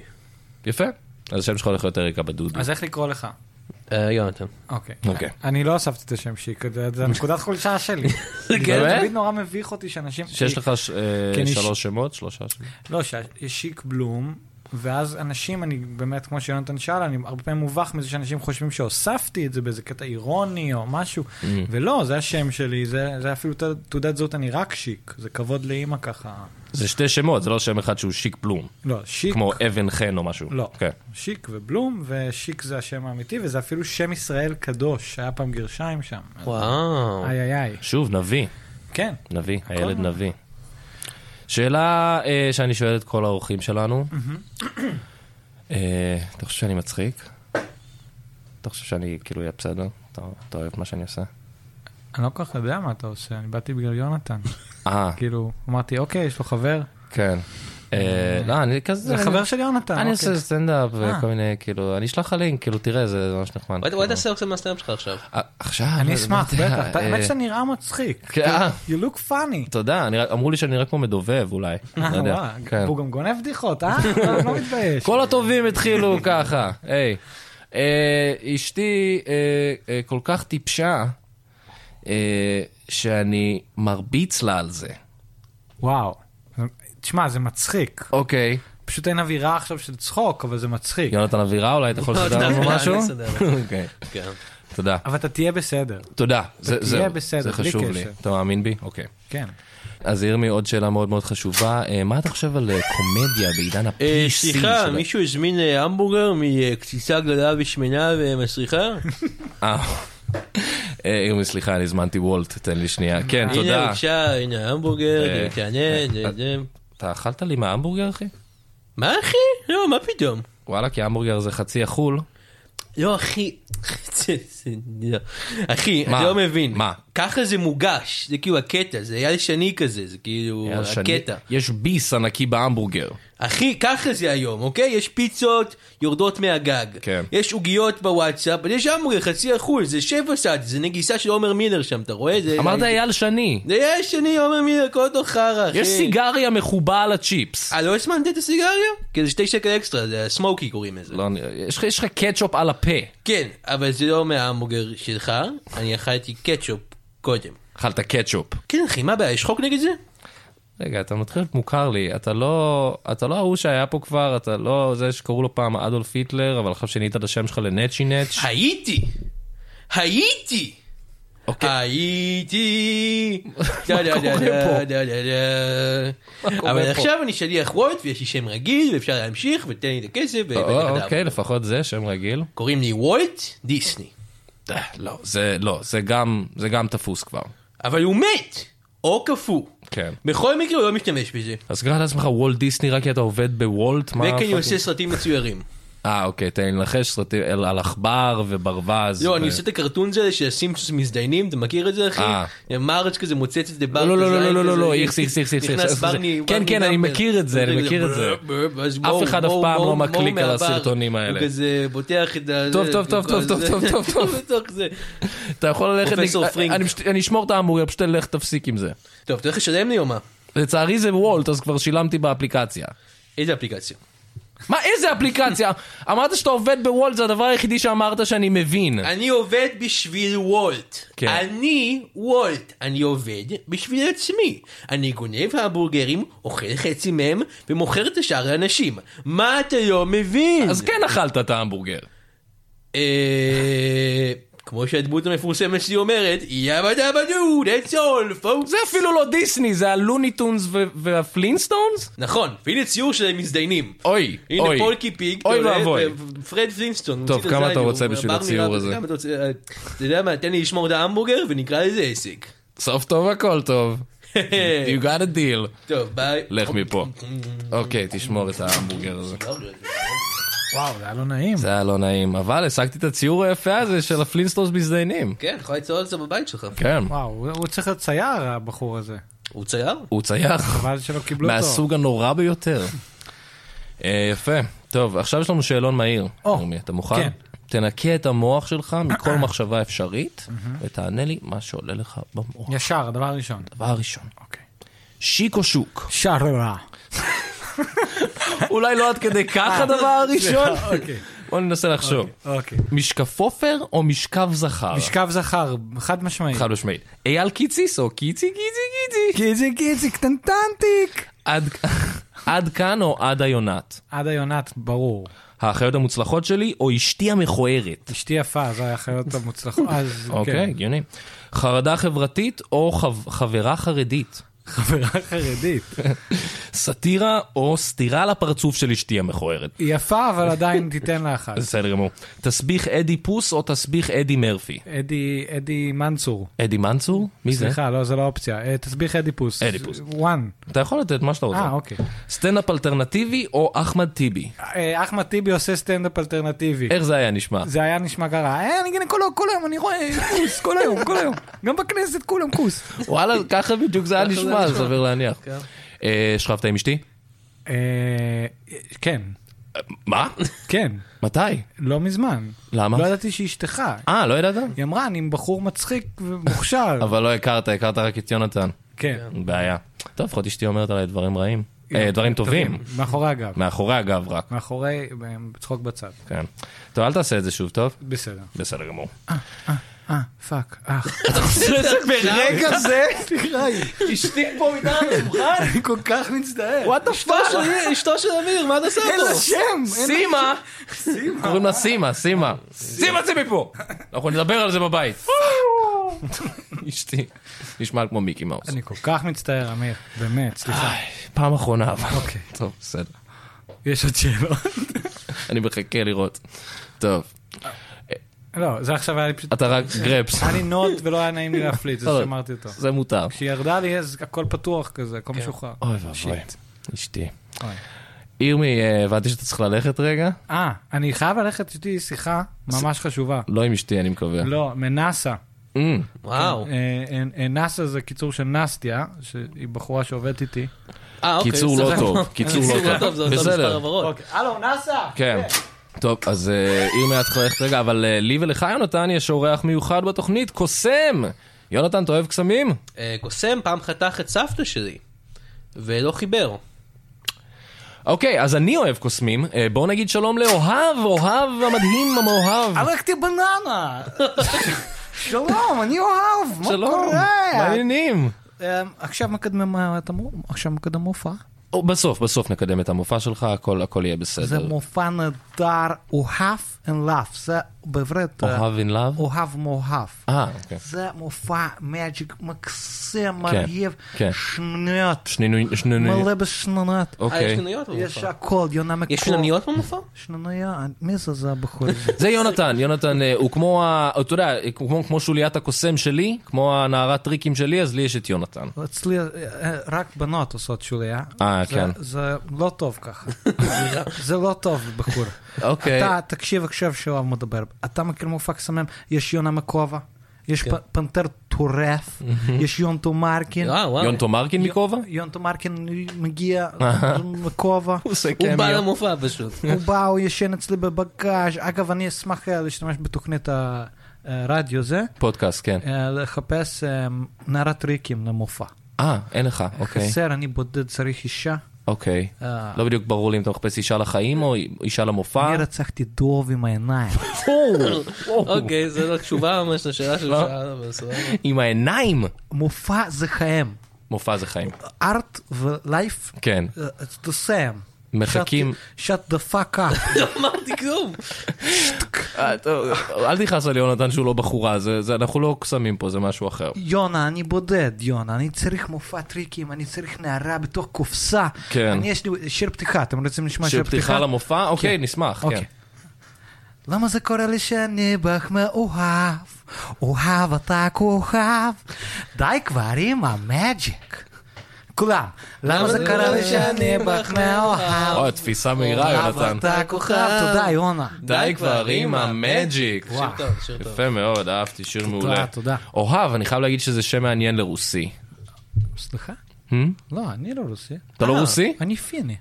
S2: יפה. אז השם שלך הולך להיות אריקה בדודו.
S4: אז איך לקרוא לך?
S3: אה, יונתן.
S4: אוקיי.
S2: אוקיי.
S4: אני לא הוספתי את השם שיק, זה זה הנקודת חולשה שלי.
S2: כן?
S4: זה תמיד נורא מביך אותי שאנשים...
S2: שיש לך ש- אה,
S4: כן, יש-
S2: שלוש שמות? שלושה שמות.
S4: לא, שיש שיק בלום, ואז אנשים, אני באמת, כמו שיונתן שאל, אני הרבה פעמים מובך מזה שאנשים חושבים שהוספתי את זה באיזה קטע אירוני או משהו,
S2: Mm.
S4: ולא, זה השם שלי, זה, זה אפילו ת- תעודת זהות אני רק שיק, זה כבוד לאימא ככה.
S2: זה שתי שמות, זה לא שם אחד שהוא שיק פלום.
S4: לא, שיק,
S2: כמו אבן חן או משהו.
S4: לא,
S2: כן.
S4: שיק ובלום, ושיק זה השם האמיתי, וזה אפילו שם ישראל קדוש, היה פעם גרשיים שם.
S3: וואו.
S2: אה.
S4: איי איי איי,
S2: שוב, נביא,
S4: כן.
S2: נביא, הילד נביא. שאלה אה, שאני שואל את כל האורחים שלנו. אה, אתה חושב שאני מצחיק? אתה חושב שאני כאילו אהיה בסדר? אתה אתה אוהב מה שאני עושה?
S4: אני לא כל כך יודע מה אתה עושה, אני באתי בגלל יונתן.
S2: אה,
S4: כאילו, אמרתי, אוקיי, יש לו חבר.
S2: כן. אה, לא, אני כזה...
S4: זה חבר של יונתן,
S2: אני עושה
S4: אוקיי.
S2: סטנדאפ
S4: אה.
S2: וכל מיני, כאילו, אני אשלח לך לינק, כאילו, תראה, זה ממש נחמד.
S3: אולי
S2: כאילו.
S3: אולי תעשה עכשיו מהסטנדאפ שלך עכשיו.
S2: אה, עכשיו?
S4: אני
S2: לא
S4: אשמח,
S2: יודע,
S4: בטח. אתה-
S2: אה,
S4: האמת שאתה נראה מצחיק.
S2: כן, אה.
S4: You look funny.
S2: תודה, אני רק- אמרו לי שאני נראה כמו מדובב אולי, לא
S4: אה,
S2: יודע.
S4: וואי,
S2: כן.
S4: הוא גם גונב בדיחות, אה? הוא לא מתבייש.
S2: כל הטובים התחילו ככה, היי. אה, אשתי אה, אה, כל כך טיפשה, אה, שאני מרביץ לה על זה.
S4: וואו. תשמע, זה מצחיק.
S2: אוקיי.
S4: פשוט אין אווירה עכשיו של צחוק, אבל זה מצחיק.
S2: יונתן אבירה, אולי אתה יכול
S3: לא,
S2: לסדר לנו
S3: אני
S2: משהו?
S3: אסדר.
S2: אוקיי,
S3: כן.
S2: תודה.
S4: אבל אתה תהיה בסדר,
S2: תודה. זה-
S4: תהיה
S2: זהו,
S4: בסדר,
S2: זה
S4: בלי
S2: חשוב לי.
S4: קשר.
S2: אתה מאמין בי? אוקיי.
S4: כן.
S2: אז ירמי, עוד שאלה מאוד מאוד חשובה. אה, מה אתה חושב על אה, קומדיה בעידן ה-PC?
S3: אה, סליחה,
S2: של-
S3: מישהו הזמין אה, המבורגר מקציצה גדולה ושמנה ומסריחה?
S2: אה, אה, ירמי, סליחה, אני הזמנתי וולט, תן לי שנייה. כן,
S3: הנה,
S2: תודה.
S3: בבקשה, הנה ההמבורגר,
S2: אה,
S3: אה, תענה, זה- זה-
S2: אתה אכלת לי מההמבורגר, אחי?
S3: מה אחי? לא, מה פתאום?
S2: וואלה, כי ההמבורגר זה חצי החול.
S3: לא, אחי, זה- זה- לא. אחי,
S2: מה?
S3: אני לא מבין.
S2: מה?
S3: ככה זה מוגש, זה כאילו הקטע, זה היה שני כזה, זה כאילו
S2: יאללה, שאני-
S3: הקטע.
S2: יש ביס ענקי בהמבורגר.
S3: אחי, ככה זה היום, אוקיי? יש פיצות יורדות מהגג.
S2: כן.
S3: יש עוגיות בוואטסאפ, אבל יש המבורגר חצי אחוז, זה שבע סעד, זה נגיסה של עומר מילר שם, אתה רואה? זה...
S2: אמרת אייל שני.
S3: זה יש שני עומר מילר, כל אותו חרא, אחי.
S2: יש סיגריה מחובה על הצ'יפס.
S3: אה, לא הזמנת את הסיגריה? כי זה שתי שקל אקסטרה, זה סמוקי קוראים לזה.
S2: לא, אני- יש לך- יש לך קטשופ על הפה.
S3: כן, אבל זה לא מההמבורגר שלך, אני אכלתי קטשופ קודם.
S2: אכלת קטשופ.
S3: כן, אחי, מה הבעיה? יש חוק נגד זה?
S2: רגע, אתה מתחיל להיות מוכר לי, אתה לא, אתה לא ההוא שהיה פה כבר, אתה לא זה שקראו לו פעם אדולף היטלר, אבל עכשיו שינית את השם שלך לנצ'י נץ'.
S3: הייתי! הייתי!
S2: אוקיי.
S3: הייתי!
S2: מה
S3: דה, דה,
S2: קורה
S3: דה,
S2: פה?
S3: דה, דה, דה.
S2: קורה
S3: אבל
S2: פה?
S3: עכשיו אני שליח וולט ויש לי שם רגיל ואפשר להמשיך ותן לי את הכסף ו-
S2: או,
S3: ונדב.
S2: אוקיי, לפחות זה שם רגיל.
S3: קוראים לי וולט דיסני.
S2: אה, לא, זה לא, זה גם, זה גם תפוס כבר.
S3: אבל הוא מת! או קפוא.
S2: כן.
S3: בכל מקרה הוא לא משתמש בזה.
S2: אז קרא לעצמך וולט דיסני רק כי אתה עובד בוולט? מה
S3: וכי אני
S2: הפאקינג-
S3: עושה סרטים מצוירים.
S2: אה, אוקיי, תן לי לנחש סרטים על על עכבר וברווז.
S3: לא,
S2: ו-
S3: אני עושה את הקרטון הזה שהסימפסוס מזדיינים, אתה מכיר את זה אחי?
S2: אה.
S3: מרץ' כזה מוצץ את זה בר
S2: לא, לא,
S3: כזה,
S2: לא, לא, לא, לא,
S3: כזה,
S2: לא, איכס, איכס, איכס, איכס,
S3: נכנס
S2: איכס,
S3: ברני,
S2: איכס.
S3: ברני
S2: כן, כן, אני
S3: גמבר.
S2: מכיר את זה, אני
S3: כזה,
S2: מכיר את זה.
S3: בר, בר, ואז
S2: אף
S3: מו,
S2: אחד אף
S3: מו,
S2: פעם
S3: מו,
S2: לא
S3: מו
S2: מקליק על
S3: מהבר.
S2: הסרטונים האלה.
S3: הוא כזה פותח את ה...
S2: טוב, טוב,
S3: זה,
S2: טוב, טוב, טוב,
S3: זה-
S2: טוב, טוב, טוב.
S3: בתוך זה.
S2: אתה יכול ללכת...
S3: פרופסור
S2: אני-
S3: פרינק.
S2: אני פשוט- אני אשמור את ההמבורגר, פשוט לך תפסיק עם זה.
S3: טוב, אתה הולך לשלם לי או מה?
S2: לצערי זה וולט, אז כבר שילמתי באפליקציה.
S3: איזה אפליקציה?
S2: מה, איזה אפליקציה? אמרת שאתה עובד בוולט, זה הדבר היחידי שאמרת שאני מבין.
S3: אני עובד בשביל וולט.
S2: כן.
S3: אני וולט. אני עובד בשביל עצמי. אני גונב המבורגרים, אוכל חצי מהם, ומוכר את השאר לאנשים. מה אתה לא מבין?
S2: אז כן אכלת את ההמבורגר.
S3: אה, כמו שהדמות המפורסמת שלי אומרת, יאבא דאבא דו, that's all, folks.
S2: זה אפילו לא דיסני, זה הלוניטונס ו- והפלינסטונס?
S3: נכון, והנה ציור של מזדיינים.
S2: אוי,
S3: הנה
S2: אוי.
S3: פולקי פיג,
S2: אוי
S3: אתה עולה,
S2: ואבוי.
S3: ו- פרד פלינסטון.
S2: טוב,
S3: מוציא את
S2: כמה
S3: הזין,
S2: אתה
S3: הוא
S2: רוצה
S3: אומר,
S2: בשביל
S3: "בר
S2: הציור
S3: נראה,
S2: הזה?"
S3: כמה אתה רוצה, אה, אתה יודע מה, תן לי לשמור את ההמבורגר ונקרא לזה עסק.
S2: סוף טוב הכל טוב.
S3: אה.
S2: You got a deal.
S3: טוב, ביי.
S2: לך מפה. אוקיי, תשמור את ההמבורגר הזה.
S4: וואו, זה היה לא נעים.
S2: זה היה לא נעים, אבל השגתי את הציור היפה הזה של הפלינסטונס מזדיינים.
S3: כן, יכול ליצור את זה בבית שלך.
S2: כן,
S4: וואו, הוא הוא צריך להיות צייר, הבחור הזה.
S3: הוא צייר?
S2: הוא צייח.
S4: חבל שלא קיבלו אותו.
S2: מהסוג הנורא ביותר. אה, יפה. טוב, עכשיו יש לנו שאלון מהיר.
S4: או,
S2: ירמי, אתה מוכן?
S4: כן.
S2: תנקה את המוח שלך מכל מחשבה אפשרית, ותענה לי מה שעולה לך במוח.
S4: ישר, הדבר הראשון.
S2: דבר ראשון,
S4: אוקיי.
S2: שיק או שוק?
S4: שררה.
S2: אולי לא עד כדי כך הדבר הראשון?
S4: אה, אוקיי.
S2: בוא ננסה לחשוב.
S4: אוקיי.
S2: משקף עופר או משכב זכר?
S4: משכב זכר, חד משמעית.
S2: חד משמעית. אייל קיציס או קיצי קיצי קיצי?
S4: קיצי קיצי קטנטנטיק.
S2: עד... עד כאן או עד היונת?
S4: עדה יונת, ברור.
S2: האחיות המוצלחות שלי או אשתי המכוערת?
S4: אשתי יפה, זו האחיות המוצלחות. אז
S2: אוקיי,
S4: כן,
S2: הגיוני. חרדה חברתית או חב- חברה חרדית?
S4: חברה חרדית.
S2: סאטירה או סטירה לפרצוף של אשתי המכוערת?
S4: היא יפה, אבל עדיין תיתן לה אחת.
S2: בסדר גמור. תסביך אדי פוס או תסביך אדי מרפי?
S4: אדי, אדי מנצור.
S2: אדי מנצור? מי זה?
S4: סליחה, לא, זה לא אופציה. אה, תסביך אדיפוס.
S2: אדיפוס.
S4: וואן.
S2: אתה יכול לתת מה שאתה
S4: אה,
S2: רוצה.
S4: אוקיי.
S2: סטנדאפ אלטרנטיבי או אחמד טיבי?
S4: אה, אחמד טיבי עושה סטנדאפ אלטרנטיבי.
S2: איך זה היה נשמע?
S4: זה היה נשמע ככה, אה, אני גנה כל היום, כל היום, אני רואה אה, כוס, כל היום, כל היום. גם בכנסת כולם כוס.
S2: וואלה, ככה בדיוק זה היה
S3: ככה זה
S2: נשמע,
S3: נשמע.
S2: סביר להניח.
S3: כן.
S2: אה, שכבת עם אשתי?
S4: אה, כן,
S2: מה?
S4: כן,
S2: מתי?
S4: לא מזמן.
S2: למה?
S4: לא ידעתי שאשתך.
S2: אה, לא ידעת?
S4: היא אמרה, אני בחור מצחיק ומוכשר.
S2: אבל לא הכרת, הכרת רק את יונתן.
S4: כן.
S2: בעיה. טוב, לפחות אשתי אומרת עליי דברים רעים. אה, דברים טובים.
S4: מאחורי הגב.
S2: מאחורי הגב רק.
S4: מאחורי, בצחוק בצד.
S2: כן. טוב, אל תעשה את זה שוב, טוב?
S4: בסדר.
S2: בסדר גמור.
S4: אה, פאק, אה.
S2: ברגע זה,
S4: תראי,
S2: אשתי פה מתחת לשולחן?
S4: אני כל כך מצטער.
S2: וואט דה פאק?
S3: אשתו של אמיר, מה אתה עושה
S4: אין לה
S3: פה?
S4: שם! אין לה-
S2: סימה! קוראים לה סימה, סימה. סימה זה מפה! אנחנו נדבר על זה בבית. אשתי. נשמע כמו מיקי מאוס.
S4: אני כל כך מצטער, אמיר. באמת, סליחה.
S2: איי, פעם אחרונה אבל.
S4: אוקיי.
S2: טוב, בסדר.
S4: יש עוד שאלות?
S2: אני מחכה לראות. טוב.
S4: לא, זה עכשיו היה לי פשוט...
S2: אתה רק גרפס.
S4: היה לי נוט ולא היה נעים לי להפליץ, אז
S2: לא, לא.
S4: שמרתי אותו.
S2: זה מותר.
S4: כשהיא ירדה לי, אז הכל פתוח כזה, הכל משוחרר.
S2: כן. אוי ואבוי.
S4: שיט.
S2: אשתי.
S4: אוי.
S2: ירמי, אה, הבנתי שאתה צריך ללכת רגע?
S4: אה, אני חייב ללכת, יש לי שיחה ממש חשובה.
S2: לא עם אשתי, אני מקווה.
S4: לא, מנאסה.
S2: אמ,
S3: וואו.
S4: אה, אה, אה, נאסה זה קיצור של נסטיה, שהיא בחורה שעובדת איתי.
S3: אה, אוקיי.
S2: קיצור
S3: זה-
S2: לא
S3: זה-
S2: טוב, קיצור לא טוב.
S3: זה אותו מספר
S2: בסדר.
S3: הברות.
S4: אוקיי, הלו, נאסה!
S2: כן. טוב, אז אה, ירמי, את צריכה ללכת רגע, אבל אה, לי ולך, יונתן, יש אורח מיוחד בתוכנית, קוסם! יונתן, אתה אוהב קסמים?
S3: אה, קוסם פעם חתך את סבתא שלי, ולא חיבר. אה,
S2: אוקיי, אז אני אוהב קוסמים. אה, בואו נגיד שלום לאוהב, אוהב המדהים המאוהב.
S4: הרגתי בננה! שלום, אני אוהב, מה
S2: שלום, מה העניינים?
S4: אמ, עכשיו מקדמים, אה, אתה אמור, עכשיו מקדם מופע.
S2: או, בסוף, בסוף נקדם את המופע שלך, הכל הכל יהיה
S4: זה
S2: בסדר.
S4: מופע נהדר, אוהב and love, э, זה בעברית... אה,
S2: אוהב אין לאו?
S4: אוהב מאוהב.
S2: אה, אוקיי.
S4: זה מופע מאג'יק מקסים,
S2: כן,
S4: מרהיב,
S2: כן.
S4: שניות,
S2: שנינו, שנינו,
S4: מלא בשנונות.
S3: אה, יש
S2: אוקיי.
S3: שינויות
S4: יש
S3: במופע.
S4: הכל, יונה מקור.
S3: יש שינויות במופע?
S4: שנוניה, מי זה זה הבחור?
S2: זה יונתן, יונתן אה, הוא כמו, ה- אתה יודע, אה, כמו, כמו שוליית הקוסם שלי, כמו הנערת טריקים שלי, אז לי יש את יונתן.
S4: אצלי אה, אה, רק בנות עושות שוליה.
S2: אה,
S4: זה-
S2: כן.
S4: זה לא טוב ככה. זה לא טוב, בחור.
S2: אוקיי.
S4: אתה, תקשיב עכשיו שהוא מדבר. אתה מכיר מופע קסמים? יש יונה מקובה, יש
S2: כן.
S4: פ- פנתר טורף, יש יונטו מרקין.
S2: אה,
S3: וואו, וואו.
S2: יונטו מרקין מכובע?
S4: יונטו מרקין מגיע
S2: אה.
S4: מכובע. כן,
S3: הוא בא למופע פשוט.
S4: הוא בא, הוא ישן אצלי בבגאז'. אגב, אני אשמח אה, להשתמש בתוכנית ה- הרדיו זה,
S2: פודקאסט, כן.
S4: אה, לחפש אה, נערת ריקים למופע.
S2: אה, אין לך, אוקיי.
S4: חסר, אני בודד, צריך אישה.
S2: אוקיי.
S4: אה,
S2: לא בדיוק ברור לי אם אתה מחפש אישה לחיים או אישה למופע.
S4: אני רצחתי דוב עם העיניים.
S3: אוקיי, זו לא תשובה ממש לשאלה של
S2: לא.
S3: שאלה, אבל סבבה.
S2: עם העיניים.
S4: מופע זה חיים.
S2: מופע זה חיים.
S4: ארט ולייף,
S2: כן.
S4: uh, it's the same.
S2: מחכים.
S4: Shut, shut the fuck up.
S3: לא אמרתי כלום.
S2: אה, טוב, אל תכעס על יונתן שהוא לא בחורה, זה- זה- אנחנו לא קסמים פה, זה משהו אחר.
S4: יונה, אני בודד, יונה. אני צריך מופע טריקים, אני צריך נערה בתוך קופסה.
S2: כן.
S4: אני יש לי שיר פתיחה, אתם רוצים לשמוע שיר
S2: של
S4: פתיחה?
S2: פתיחה למופע? אוקיי, נשמח, כן.
S4: אוקיי. למה זה קורה לי שאני בך מאוהב? אוהב אתה כוכב. די כבר עם המאג'יק. כולם. למה זה קורה לי שאני בך מאוהב?
S2: אוי, תפיסה מהירה, יונתן.
S4: אוהב אתה כוכב. תודה, יונה.
S2: די כבר עם המג'יק.
S3: שיר טוב, שיר טוב.
S2: יפה מאוד, אהבתי, שיר מעולה.
S4: תודה.
S2: אוהב, אני חייב להגיד שזה שם מעניין לרוסי.
S4: סליחה?
S2: Hmm?
S4: לא, אני לא רוסי.
S2: אתה לא רוסי?
S4: אני פיני.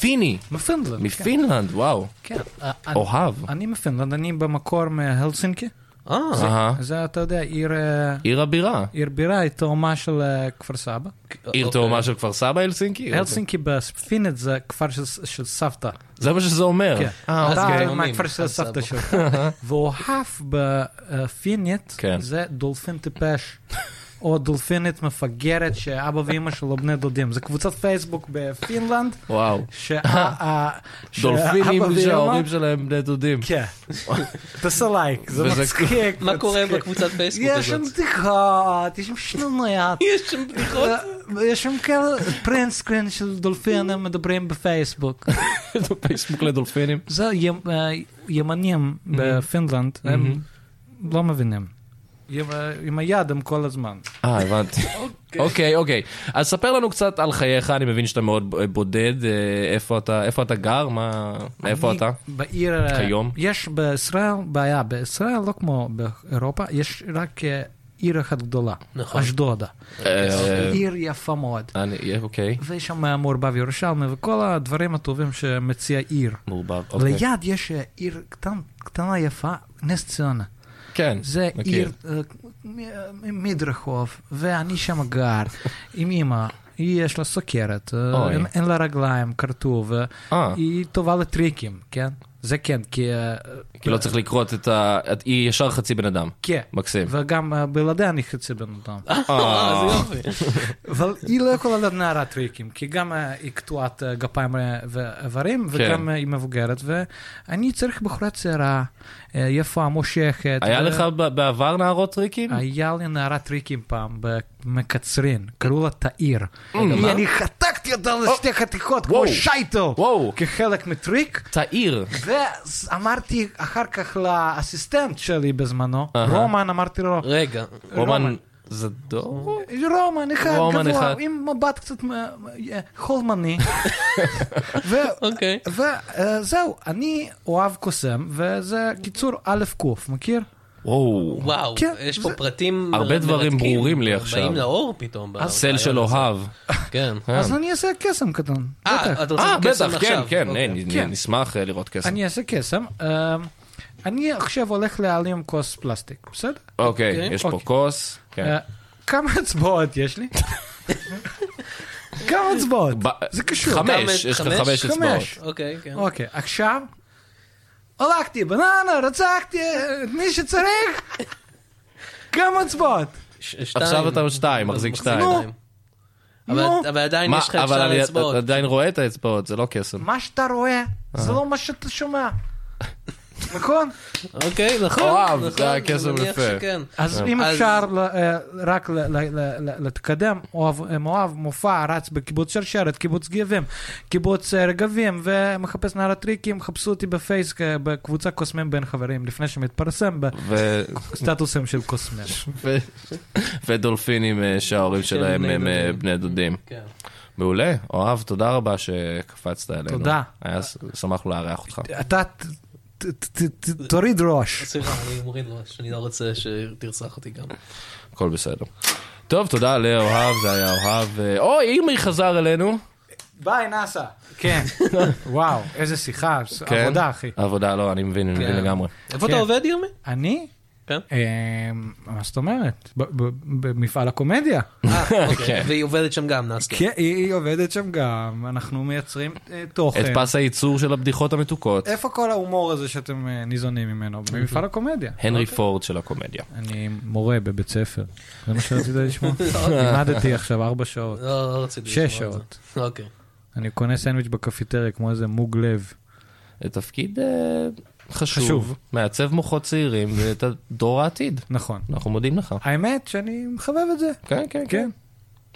S2: פיני,
S4: מפינלנד. כן.
S2: מפינלנד, וואו.
S4: כן. אה, אני-
S2: אוהב.
S4: אני מפינלנד, אני במקור מהלסינקי.
S3: אה,
S2: אהה.
S4: זה, אתה יודע, עיר... אה,
S2: עיר הבירה.
S4: עיר בירה היא תאומה של אה, כפר סבא.
S2: עיר
S3: אוקיי.
S2: תאומה של כפר סבא, הלסינקי?
S4: הלסינקי בספינית זה כפר של- של סבתא.
S2: זה מה שזה אומר.
S4: כן.
S2: אה,
S3: אז
S2: אוקיי.
S3: כן.
S4: אתה מהכפר של
S3: אז סבא.
S4: סבתא שלך. ואוהב בפינית
S2: כן.
S4: זה דולפין טיפש. או דולפינית מפגרת שאבא ואימא שלו בני דודים. זה קבוצת פייסבוק בפינלנד,
S2: וואו.
S4: שה- ה- שאבא
S2: דולפינים
S4: ואימא-
S2: שההורים שלהם בני דודים.
S4: כן. תעשה לייק, זה
S2: וזה-
S4: מצחיק.
S3: מה קורה
S4: מצחיק.
S3: בקבוצת פייסבוק
S4: אוקיי. יש שם
S3: הזאת?
S4: בדיחות, יש שם שנוניות.
S3: יש שם בדיחות.
S4: יש שם כאלה פרינט סקרין של דולפינים מדברים בפייסבוק.
S2: פייסבוק לדולפינים.
S4: זה ימ- אה, ימנים בפינלנד, הם לא מבינים. עם ה- עם היד הם כל הזמן.
S2: אה, הבנתי. אוקיי, אוקיי. אז ספר לנו קצת על חייך, אני מבין שאתה מאוד אה, בודד, אה, איפה אתה איפה אתה גר? מה... איפה
S4: אני
S2: אתה?
S4: בעיר... אה,
S2: כיום?
S4: יש בישראל בעיה, בישראל לא כמו באירופה, יש רק אה, עיר אחת גדולה,
S3: נכון.
S4: אשדודה.
S2: אה,
S4: עיר יפה מאוד.
S2: אני... אה, אוקיי.
S4: ויש שם מעורבב ירושלמי וכל הדברים הטובים שמציע עיר.
S2: מעורבב. אוקיי.
S4: ליד יש אה, עיר קטן- קטנה יפה, נס ציונה.
S2: כן.
S4: זה
S2: מכיר.
S4: עיר אה, מ- מדרחוב, ואני שם גר עם אמא. היא יש לה סוכרת, אה,
S2: אוי.
S4: אין, אין לה רגליים, כרטוב, אה,
S2: אה.
S4: היא טובה לטריקים, כן? זה כן, כי... אה,
S2: כי לא צריך לקרות את ה... את- היא ישר חצי בן אדם.
S4: כן.
S2: מקסים.
S4: וגם אה, בלעדיה אני חצי בן אדם.
S3: אה, זה יופי.
S4: אבל היא לא יכולה לדעת נערה טריקים, כי גם אה, היא קטועת אה, גפיים אה, ואיברים,
S2: כן.
S4: וגם אה, היא מבוגרת, ואני צריך בחורה צעירה, אה, יפה, מושכת.
S2: היה
S4: ו-
S2: לך ב- בעבר נערות טריקים?
S4: היה לי נערה טריקים פעם במקצרין, קראו לה תאיר.
S2: Mm. מה? Oh.
S4: היא- אני חתכתי אותה לשתי חתיכות כמו
S2: וואו.
S4: שייטל,
S2: וואו.
S4: כחלק מטריק.
S2: תאיר.
S4: ואמרתי אחר כך לאסיסטנט שלי בזמנו,
S2: אהה.
S4: רומן, אמרתי לו,
S3: רגע,
S2: רומן זדור?
S4: רומן אחד
S2: רומן
S4: גבוה,
S2: אחד.
S4: עם מבט קצת אה, אה, חולמני. ו-
S3: אוקיי.
S4: וזהו, אני אוהב קוסם, וזה קיצור א' ק', מכיר?
S2: וואו.
S3: וואו,
S4: כן,
S3: יש פה
S4: זה-
S3: פרטים
S2: הרבה דברים
S3: מרתקים,
S2: ברורים לי עכשיו. אה,
S3: באים לאור פתאום. ב-
S2: סל
S3: ברעיון
S2: של
S3: הזה.
S2: אוהב.
S3: כן.
S4: אז אני אעשה קסם קטן. בטח.
S3: אה, אתה רוצה
S2: אה,
S3: קסם
S2: בטח, כן,
S3: עכשיו?
S2: כן,
S3: אוקיי.
S2: אה, נ-
S4: כן.
S2: נשמח אה, לראות קסם.
S4: אני אעשה קסם. אה, אני עכשיו הולך להעלים כוס פלסטיק, בסדר?
S2: אוקיי,
S3: אוקיי.
S2: יש פה
S4: אוקיי.
S2: כוס. כן.
S4: אה, כמה אצבעות יש לי? כמה אצבעות?
S2: ב-
S4: זה קשור.
S2: חמש, יש לך
S3: חמש?
S2: חמש אצבעות.
S4: חמש.
S3: אוקיי, כן.
S4: אוקיי, עכשיו... הלכתי, בננה, רצחתי את מי שצריך. כמה אצבעות?
S3: ש- שתיים.
S2: עכשיו אתה שתיים, מחזיק שתיים.
S4: נו. נו.
S3: אבל- אבל עדיין
S2: מה,
S3: יש לך את
S2: אבל
S3: שאר
S2: אני
S3: האצבעות.
S2: עדיין רואה את האצבעות, זה לא קסם.
S4: מה שאתה רואה, זה לא מה שאתה שומע. נכון?
S3: אוקיי, נכון.
S2: וואו,
S3: נכון,
S2: זה היה
S3: אני
S2: קסם
S3: מניח
S2: יפה.
S3: שכן.
S4: אז אם
S3: אז-
S4: אפשר ל- אה, רק ל- ל- ל- ל- להתקדם, אוהב- מואב מופע רץ בקיבוץ שרשרת, קיבוץ גבים, קיבוץ אה, רגבים, ומחפש נער הטריקים, חפשו אותי בפייס אה, בקבוצה קוסמים בין חברים, לפני שמתפרסם
S2: ו-
S4: בסטטוסים של קוסמים.
S2: ו- ודולפינים אה, שההורים שלהם
S3: בני
S2: הם אה,
S3: דודים.
S2: בני דודים.
S3: כן.
S2: מעולה, אוהב, תודה רבה שקפצת אלינו.
S4: תודה.
S2: היה ס- שמח לארח אותך.
S4: אתה ת- ת- ת- ת- תוריד ראש.
S3: סליחה, אני מוריד ראש, אני לא רוצה שתרצח אותי גם.
S2: הכל בסדר. טוב, תודה לאוהב, זה היה אוהב. אה, אוי, אימי חזר אלינו.
S4: ביי, נאסא. כן. וואו, איזה שיחה, ס-
S2: כן.
S4: עבודה, אחי.
S2: עבודה, לא, אני מבין, אני מבין
S3: כן.
S2: לגמרי.
S3: איפה
S4: כן.
S3: אתה עובד, ירמי?
S4: אני?
S3: כן.
S4: אה, מה זאת אומרת? ב- ב- במפעל הקומדיה.
S3: אה,
S2: כן.
S3: אוקיי. והיא עובדת שם גם, נסקי.
S4: כן, היא היא עובדת שם גם, אנחנו מייצרים אה,
S2: את
S4: תוכן.
S2: פס הייצור של הבדיחות המתוקות.
S4: איפה כל ההומור הזה שאתם אה, ניזונים ממנו? במפעל הקומדיה.
S2: הנרי פורד של הקומדיה.
S4: אני מורה בבית ספר, זה מה שרצית לשמוע? לימדתי עכשיו ארבע שעות,
S3: לא, לא רציתי לשמוע את
S4: שש
S3: זה.
S4: שעות.
S3: אוקיי.
S4: אני קונה סנדוויץ' בקפיטריה כמו איזה מוג לב.
S2: זה תפקיד אה,
S4: חשוב.
S2: חשוב. מעצב מוחות צעירים ואת דור העתיד.
S4: נכון.
S2: אנחנו מודים לך.
S4: האמת שאני מחבב את זה.
S2: כן, כן,
S4: כן.
S2: כן.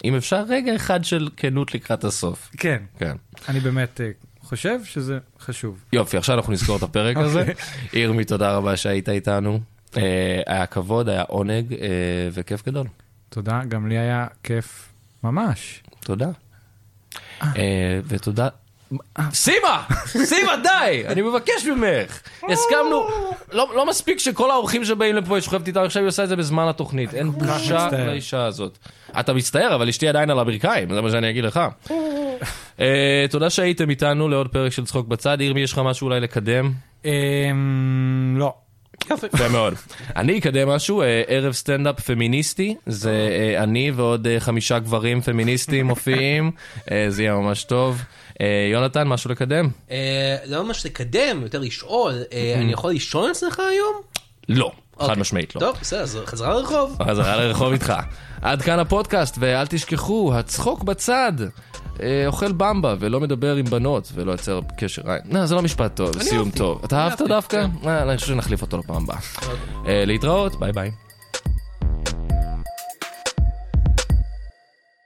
S2: אם אפשר רגע אחד של כנות לקראת הסוף.
S4: כן,
S2: כן.
S4: אני באמת אה, חושב שזה חשוב.
S2: יופי, עכשיו אנחנו נסגור את הפרק הזה. ירמי, תודה רבה שהיית איתנו. אה, היה כבוד, היה עונג אה, וכיף גדול.
S4: תודה, גם לי היה כיף ממש.
S2: תודה. אה, ותודה... סימה! סימה, די! אני מבקש ממך! הסכמנו, לא לא מספיק שכל האורחים שבאים לפה, היא שוכבת איתם, עכשיו היא עושה את זה בזמן התוכנית. אין בושה
S4: מצטער.
S2: לאישה הזאת. אתה מצטער, אבל אשתי עדיין על הברכיים, זה מה שאני אגיד לך. אה, תודה שהייתם איתנו לעוד פרק של צחוק בצד. ירמי, יש לך משהו אולי לקדם?
S4: אמ, לא.
S2: יפה מאוד. אני אקדם משהו, אה, ערב סטנדאפ פמיניסטי, זה אה, אני ועוד אה, חמישה גברים פמיניסטים מופיעים, אה, זה יהיה ממש טוב. אה, יונתן, משהו לקדם?
S4: Mm-hmm.
S3: אה, לא ממש לקדם, יותר לשאול, אה, אני יכול לישון אצלך היום?
S2: לא. חד משמעית לא.
S3: טוב, בסדר, אז חזרה לרחוב.
S2: חזרה לרחוב איתך. עד כאן הפודקאסט, ואל תשכחו, הצחוק בצד. אה, אוכל במבה ולא מדבר עם בנות ולא יוצר קשר עין. לא, זה לא משפט טוב, סיום טוב. אתה אהבת דווקא? אה, אני חושב שנחליף אותו לפעם הבאה. אה, להתראות, ביי ביי.